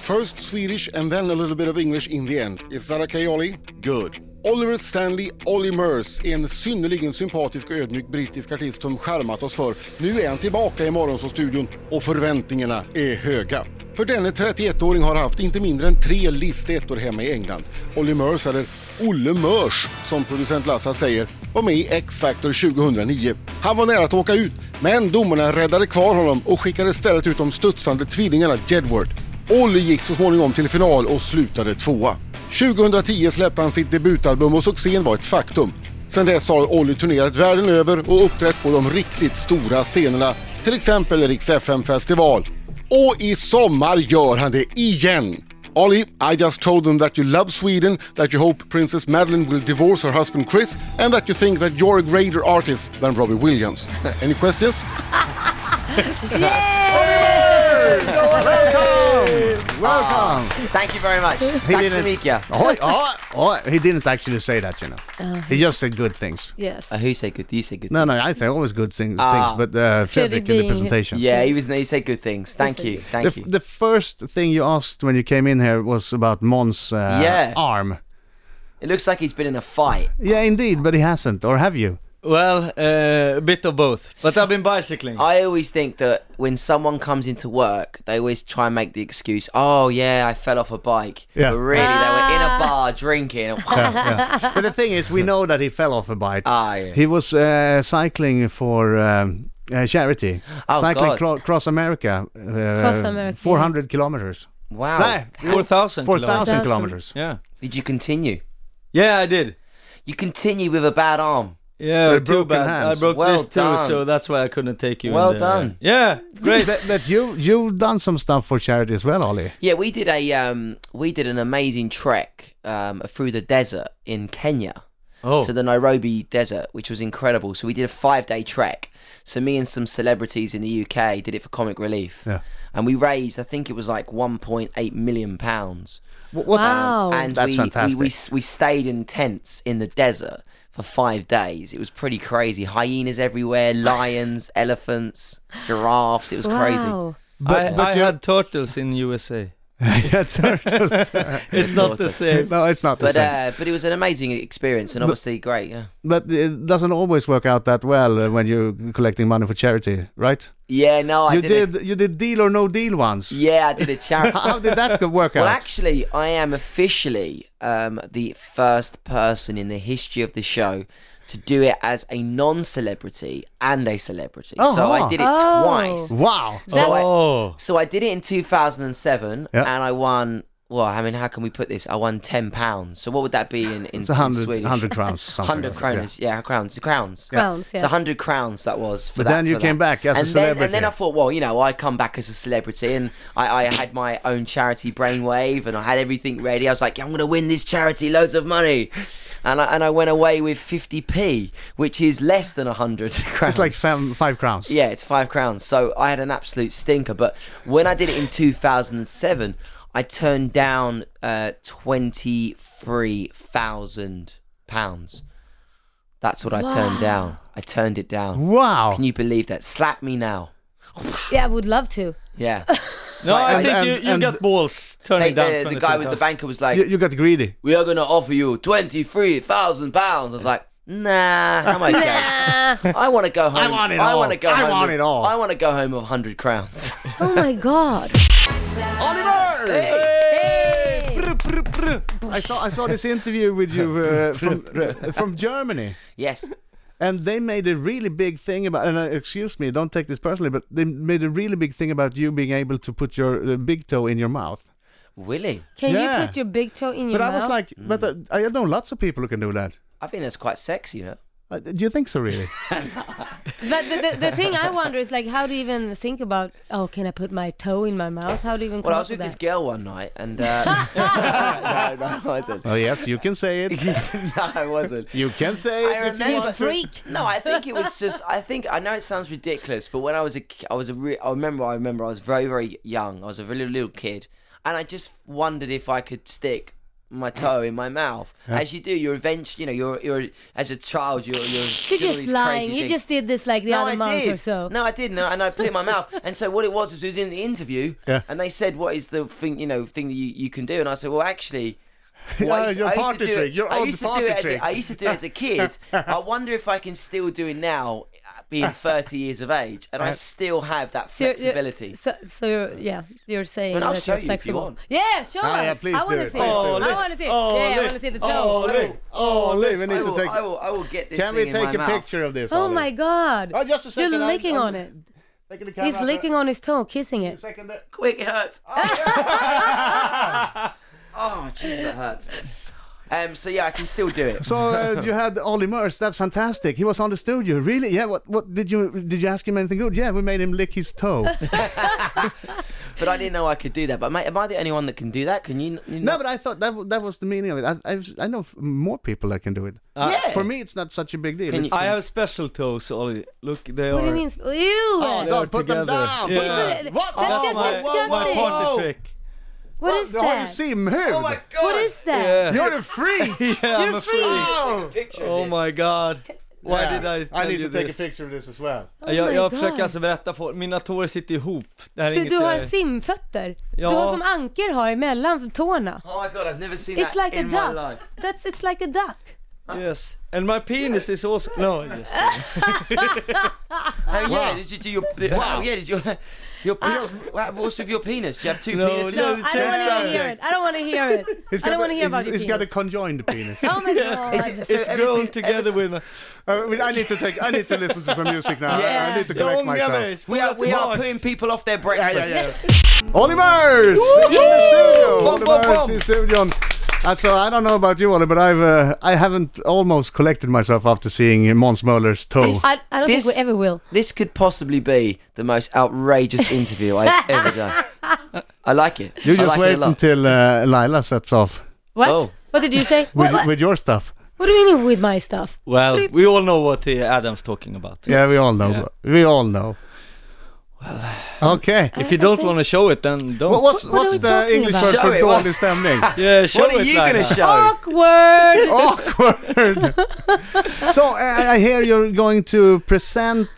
First Swedish and then a little bit of English in the end. Is that okay Ollie? Good. Oliver Stanley Olly Murs är en synnerligen sympatisk och ödmjuk brittisk artist som skärmat oss för. Nu är han tillbaka i Morgonzoo-studion och förväntningarna är höga. För denne 31-åring har haft inte mindre än tre listettor hemma i England. Olly Murs, eller Olle Mörs som producent Lassa säger, var med i X-Factor 2009. Han var nära att åka ut, men domarna räddade kvar honom och skickade istället ut de studsande tvillingarna Jedward. Olly gick så småningom till final och slutade tvåa. 2010 släppte han sitt debutalbum och succén var ett faktum. Sedan dess har Olly turnerat världen över och uppträtt på de riktigt stora scenerna, till exempel Rix FM-festival. Och i sommar gör han det igen! Olly, I just told them that you love Sweden, that you hope Princess Madeline will divorce her husband Chris, and that you think that you're a greater artist than Robbie Williams. Any questions? Welcome! Thank you very much. Tack så didn't- mycket. Ah. Oh, oh, oh, he didn't actually say that, you know. he just said good things. Yes. Uh, who said good? You said good. No, no, I say always good thing, Ah. things, but uh, Fredrik in the being- presentation. Yeah, he was. He said good things. Thank you. Thank The, f- you. the first thing you asked when you came in here was about Mon's uh, Yeah. arm. it looks like he's been in a fight. Yeah, indeed, but he hasn't, or have you? Well, uh, a bit of both. But I've been bicycling. I always think that when someone comes into work, they always try and make the excuse, "Oh yeah, I fell off a bike." Yeah. But really, they were in a bar drinking. but the thing is, we know that he fell off a bike. Ah, yeah. He was uh, cycling for um, uh, charity, Oh, cycling God. cro- cross America, uh, Cross America, 400 kilometers. wow. No, 4,000 4,000 kilometers. kilometers. Yeah. Did you continue? Yeah, I did. You continue with a bad arm. Yeah, With too broken bad. hands. I broke Well this too, done. so that's why I couldn't take you. in Well the- done. Yeah, great. But, but you you've done some stuff for charity as well, Ollie. Yeah, we did a um, we did an amazing trek um, through the desert in Kenya. oh, to the Nairobi desert, which was incredible. So we did a five day trek. So me and some celebrities in the UK did it for Comic Relief, Yeah. and we raised, I think it was like 1.8 million pounds. Wh- What's Wow. and That's we, fantastic. We, we we stayed in tents in the desert for five days. It was pretty crazy. Hyenas everywhere, lions, elephants, giraffes. It was crazy. Wow. I, I had turtles in USA. yeah, turtles? It's not the Tortoise. same. no, it's not the But same. uh, but it was an amazing experience, and obviously great. Yeah. but it doesn't always work out that well uh, when you're collecting money for charity, right? Yeah. No, I you did. a- did you did deal or no deal once. yeah, I did a charity. How did that go- work Well, out? actually, I am officially um, the first person in the history of the show to do it as a non-celebrity and a celebrity. So Uh-huh. I did it Oh. twice. wow. So I, Oh, so I did it in 2007, Yeah. and I won. Well, I mean, how can we put this? I won ten pounds. So what would that be in in, It's in 100, Swedish? 100 crowns. something Hundred like that, yeah. kroners, yeah. crowns, crowns, Crowns, So yeah. hundred crowns that was. For But that, then you for came that. back as a and Then, celebrity. and then I thought, well, you know, I come back as a celebrity, and I, I had my own charity brainwave, and I had everything ready. I was like, yeah, I'm going to win this charity, loads of money, and I, and I went away with fifty p, which is less than hundred crowns. It's like fam, five crowns. Yeah, it's five crowns. So I had an absolute stinker. But when I did it in 2007, I turned down uh, 23,000 pounds. That's what I turned down. I turned it down. Wow. Can you believe that? Slap me now. Yeah, I would love to. Yeah. no, I like- think and- you, you and- got balls turning They- down the, the guy with the 22,000. banker was like, you, you got greedy. We are going to offer you 23,000 pounds. I was like, Nah, how am I going? I want to go home. I want it I all. want to go I home. want with- it all. I want to go home with 100 crowns. Oh my god. Oliver! Hey. I saw I saw this interview with you uh, from from Germany. yes. And they made a really big thing about, and uh, excuse me, don't take this personally, but they made a really big thing about you being able to put your uh, big toe in your mouth. Really? Can Yeah. you put your big toe in your But I mouth? was like, but uh, I know lots of people who can do that. I think that's quite sexy, you know. Uh, do you think so, really? But the, the, the thing I wonder is like, how do you even think about? Oh, can I put my toe in my mouth? How do you even? Well, I come was up with this that? girl one night, and uh, no, no, I wasn't. Oh yes, you can say it. no, I wasn't. You can say I it. if you remember. want to. freak. No, I think it was just. I think I know it sounds ridiculous, but when I was a, ki- I was a. Re- I remember. I remember. I was very, very young. I was a really little kid, and I just wondered if I could stick my toe in my mouth. As you do, you're eventually, you know, you're you're as a child, you're you're, You're doing all just these lying. crazy You things. just did this like the no, other I month did. or so. No, I didn't, and I put it in my mouth. And so what it was is it was in the interview, Yeah. and they said, "What is the thing you know thing that you, you can do?" And I said, "Well, actually." Yeah, I used- your I used to party do it- trick, your I old used to party do it as trick. a, I used to do it as a kid. I wonder if I can still do it now, uh, being 30 years of age, Uh, and I still have that So uh, you're- you're- flexibility. So, so you're, yeah, you're saying And I'll that show you're you if you flexible. want. Yeah, show Ah, us. yeah, please I do want it. to see. Please do I it. want to see. it. Oh, yeah, I look. want to see the toe. Oh, Lee. Oh, Lee, we I need will, to take. I will, I will get this Can thing we in take my a mouth. picture of this? Oh Ollie? my God! Oh, just a second. You're I'm- licking I'm on it. taking the He's camera. licking on his toe, kissing A it. second there. Quick, it hurts. oh, jeez, that hurts. Um, so yeah, I can still do it. So uh, you had Ollie Murs. That's fantastic. He was on the studio. Really? Yeah. What? What did you? Did you ask him anything good? Yeah, we made him lick his toe. But I didn't know I could do that. But mate, am I the only one that can do that? Can you? you no, not- but I thought that wa- that was the meaning of it. I I've, I know f- more people that can do it. yeah. For me, it's not such a big deal. Can It's- you- I have special toes, Ollie. Look, they What are. do you mean? sp- Ew! Oh, They no, are put them together. down, put Yeah. them- What? That's Oh, just my, my disgusting. party Oh. trick. What is the that? you see him here? Oh my god. What is that? Yeah. You're a freak. Yeah, You're I'm a free. freak. oh. Picture of Oh this. my god. Why Yeah. did I tell I need you to take this? a picture of this as well. jag my jag God. försöker alltså berätta för mina tår sitter ihop. Det här är Du, inget, du har eh, simfötter. Ja. Du har som Anker har emellan tårna. Oh my god, I've never seen It's that like a in my duck. life. That's, it's like a duck. Yes. And my penis is also... No, just... Oh yeah, did you do your? Wow. yeah, did you? Your penis. wow, what's with your penis? Do you have two No, penises? no, Uh, I don't want Change to hear it. I don't want to hear it. He's I got don't want a- to hear about he's- your He's got a penis. conjoined penis. Oh my god. Is it- It's ever grown since- together ever with... my- Uh, wait, I need to take. I need to listen to some music now. I- I Yes. need to Jag correct ångar mig. myself. We are, we are Tillbaks. putting people off their breakfast. Olivers! In the studio! Bom, bom, Olivers bom. i studion. Alltså, I don't know about you Ollie, but I've uh, I haven't almost collected myself after seeing Måns Möller's toe. This- I, I don't This- think we ever will. This could possibly be the most outrageous interview I've ever done. I like it. You I just like it a wait lot. until uh, Lila sets off What? Oh. What did you say? with, What, what, with your stuff. what do you mean with my stuff? Well, we all know what uh, Adam's talking about. Yeah, we all know. Yeah. uh, We all know. Well, okay. If you don't want to show it, then don't. Well, what's What- what what's are we talking the English about? word Show for it, what- dålig stämning? Yeah, show What are it, you going to Lina. Oh, show? Awkward. Awkward. so I, I hear you're going to present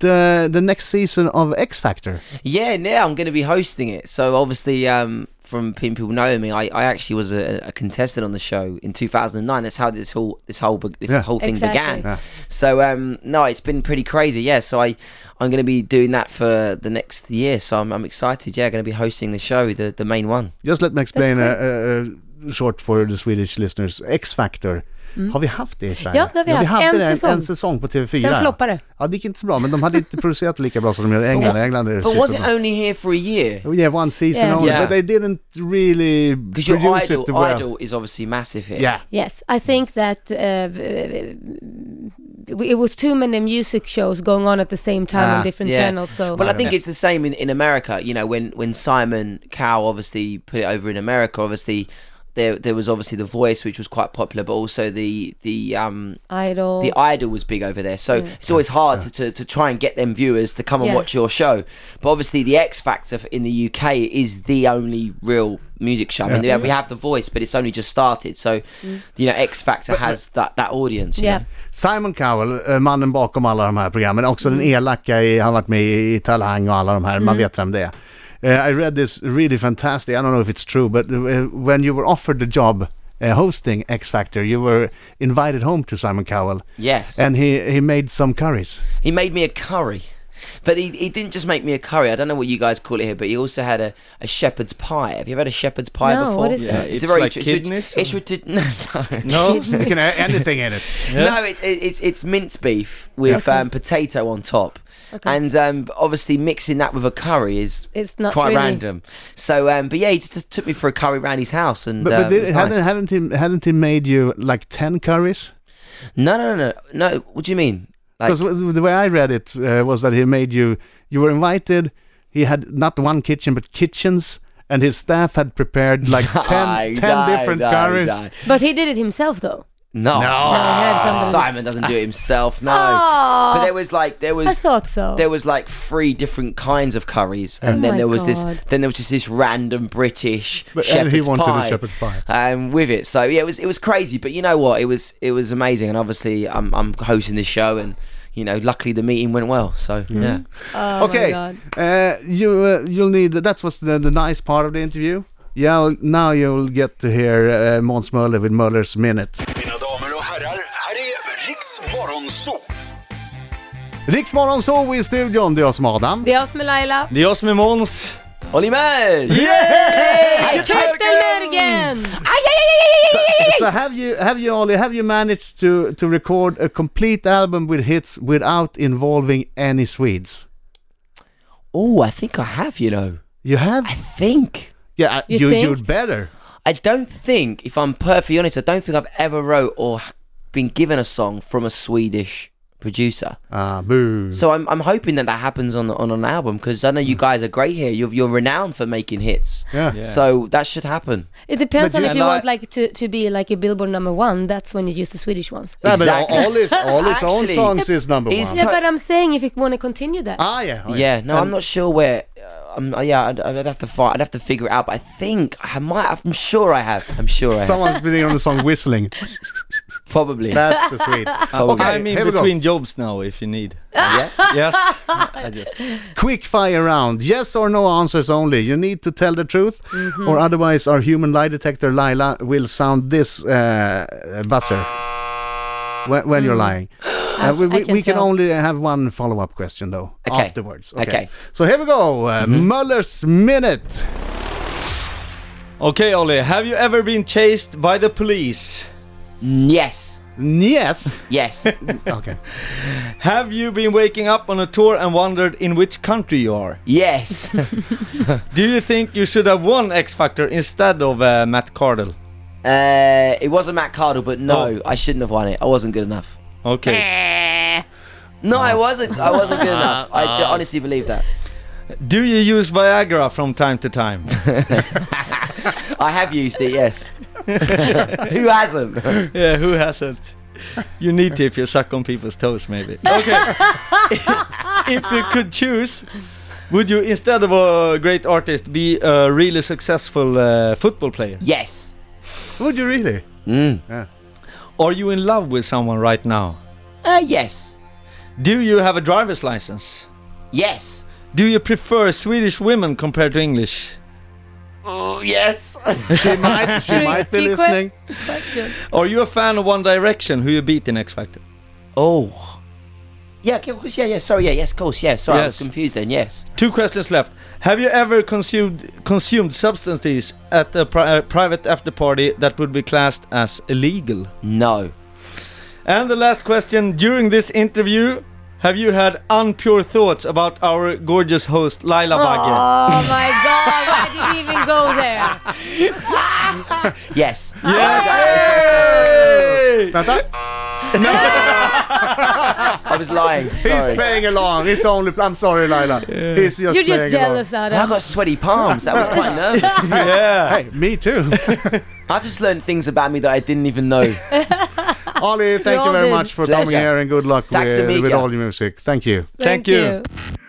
the the next season of X Factor. Yeah, now I'm going to be hosting it. So obviously, um, from pe- people knowing me, I, I actually was a, a contestant on the show in 2009. That's how this whole this whole be- this Yeah. whole thing Exactly. began. Yeah. So um, no, it's been pretty crazy. Yeah, so I I'm going to be doing that for the next year. So I'm, I'm excited. Yeah, going to be hosting the show, the the main one. Just let me explain uh, uh, uh, short for the Swedish listeners. X Factor. Har vi haft det i Sverige? Mm. Ja, det har vi haft. hade En det säsong. en säsong på TV4. Sen floppade det. Ja, det gick inte så bra, men de hade inte producerat lika bra som de gjorde i England. Yes. England är But was it superbra. only here for a year? Oh, yeah, one season Yeah. only, Yeah. but they didn't really Because your produce idol, it the well. idol is obviously massive here. Yeah. Yes, I think that uh, it was too many music shows going on at the same time Ah, on different yeah. channels. So Well, I think Yeah. it's the same in, in America. You know, when, when Simon Cowell obviously put it over in America, obviously there there was obviously the Voice, which was quite popular, but also the the um Idol. the Idol was big over there. So it's always hard to, to to try and get them viewers to come and Yeah. watch your show. But obviously, the X Factor in the UK is the only real music show. I mean, we have the Voice, but it's only just started. So you know, X Factor has that that audience. You Mm. yeah. know? Simon Cowell, eh, mannen bakom alla de här programmen, också Mm. den elaka, i, han har varit med i Talang och alla de här, man vet vem det är. Eh, I read this really fantastic, I don't know if it's true, but eh, when you were offered the job eh, hosting X Factor, you were invited home to Simon Cowell Yes. and he, he made some curries. He made me a curry. But he, he didn't just make me a curry. I don't know what you guys call it here, but he also had a, a shepherd's pie. Have you ever had a shepherd's pie No, before? what is Yeah, it? it's like tr- kidneys It's, it's, reti- no, No. You can have anything in it. no. no, it's it, it's it's minced beef with um, potato on top, and um, obviously mixing that with a curry is It's not quite really- random. So, um, but yeah, he just took me for a curry round his house, and But, um, but it did, was hadn't, nice. hadn't, he, hadn't he made you like 10 curries? no, no, no, no, no. What do you mean? Like, Because the way I read it uh, was that he made you, you were invited, he had not one kitchen, but kitchens, and his staff had prepared like 10, I- 10 no, different no, curries. no. But he did it himself, though. No. No, I Ah, had somebody. Simon doesn't do it himself. No. Um, Aw. But there was like there was I thought so. there was like three different kinds of curries, and Oh my then there was God. this. Then there was just this random British But- and shepherd's he wanted a pie, shepherd's pie. um, with it. So yeah, it was it was crazy. But you know what? It was it was amazing, and obviously I'm I'm hosting this show, and you know luckily the meeting went well. So yeah, Oh my okay, God. uh, you uh, you'll need that's what's the, the nice part of the interview. Yeah, well, now you'll get to hear uh, Måns Möller with Möller's minute. Mina damer och herrar, här är Riks Morgonzoo! Riksmorgon så i studion, det är jag som är Adam. Det är jag som är Laila. Det är jag som är Måns. Olly man. Hej Köttenbergen! So have you have you Ollie have you managed to to record a complete album with hits without involving any Swedes? Oh, I think I have. You know, You have? I think. Yeah, I- You you think? you'd better. I don't think, if I'm perfectly honest, I don't think I've ever wrote or been given a song from a Swedish producer. Ah, boo. So I'm, I'm hoping that that happens on on an album because I know you guys are great here. You're you're renowned for making hits. Mm. Yeah. So that should happen. It depends But on you- if you and I- want like to, to be like a Billboard number one. That's when you use the Swedish ones. Yeah, but all- Exactly. all his all his own Actually, songs is number he's one. Yeah, So- but I'm saying if you want to continue that. ah, yeah. oh, yeah. No, I'm not sure where. Uh, I'm, uh, yeah, I'd, I'd have to find. I'd have to figure it out. But I think I might. I'm sure I have. I'm sure I have. Someone's been on the song whistling. Probably. That's the Swede. Probably. Okay, I'm in here we go. between jobs now if you need. Yeah. Yes. I just. Quick fire round. Yes or no answers only. You need to tell the truth, Mm-hmm. or otherwise our human lie detector Lila will sound this uh, buzzer when, when you're lying. Uh, we Mm. I we, can we can tell. only have one follow up question though Okay. afterwards. Okay. Mm-hmm. So here we go. Uh, Muller's minute. Okay, Ollie, have you ever been chased by the police? yes. Yes. Yes. okay. Have you been waking up on a tour and wondered in which country you are? yes. Do you think you should have won X Factor instead of uh, Matt Cardle? Uh, it wasn't Matt Cardle, but no, I shouldn't have won it. I wasn't good enough. Okay. No, I wasn't. I wasn't good enough. Uh, I ju- honestly believe that. Do you use Viagra from time to time? I have used it. Yes. Who hasn't? yeah, who hasn't? You need to if you suck on people's toes, maybe. Okay. if you could choose, would you instead of a great artist be a really successful uh, football player? Yes. Would you really? Are you in love with someone right now? Uh, yes. Do you have a driver's license? Yes. Do you prefer Swedish women compared to English? Oh, yes. She might. She might be Tricky listening. Question. Are you a fan of One Direction, who you beat in X Factor? Oh. Yeah, of course, yeah, yeah, sorry, yeah, yes, of course, yeah, sorry, I was Yes. confused then, yes. Two questions left. Have you ever consumed consumed substances at a pri- uh, private after party that would be classed as illegal? No. And the last question during this interview, have you had unpure thoughts about our gorgeous host Laila Bagge? Oh my god, why did you even go there? Yes. Yes! Vänta. I was lying, He's sorry. playing along. He's only. I'm sorry, Lila. He's just You're just playing along. jealous, I Adam. got sweaty palms, that was quite nervous. yeah. Hey, me too. I've just learned things about me that I didn't even know. Ollie, thank you all very did. much for coming Pleasure. here and good luck Tack så with, with mycket. all your music. Thank you. Thank you.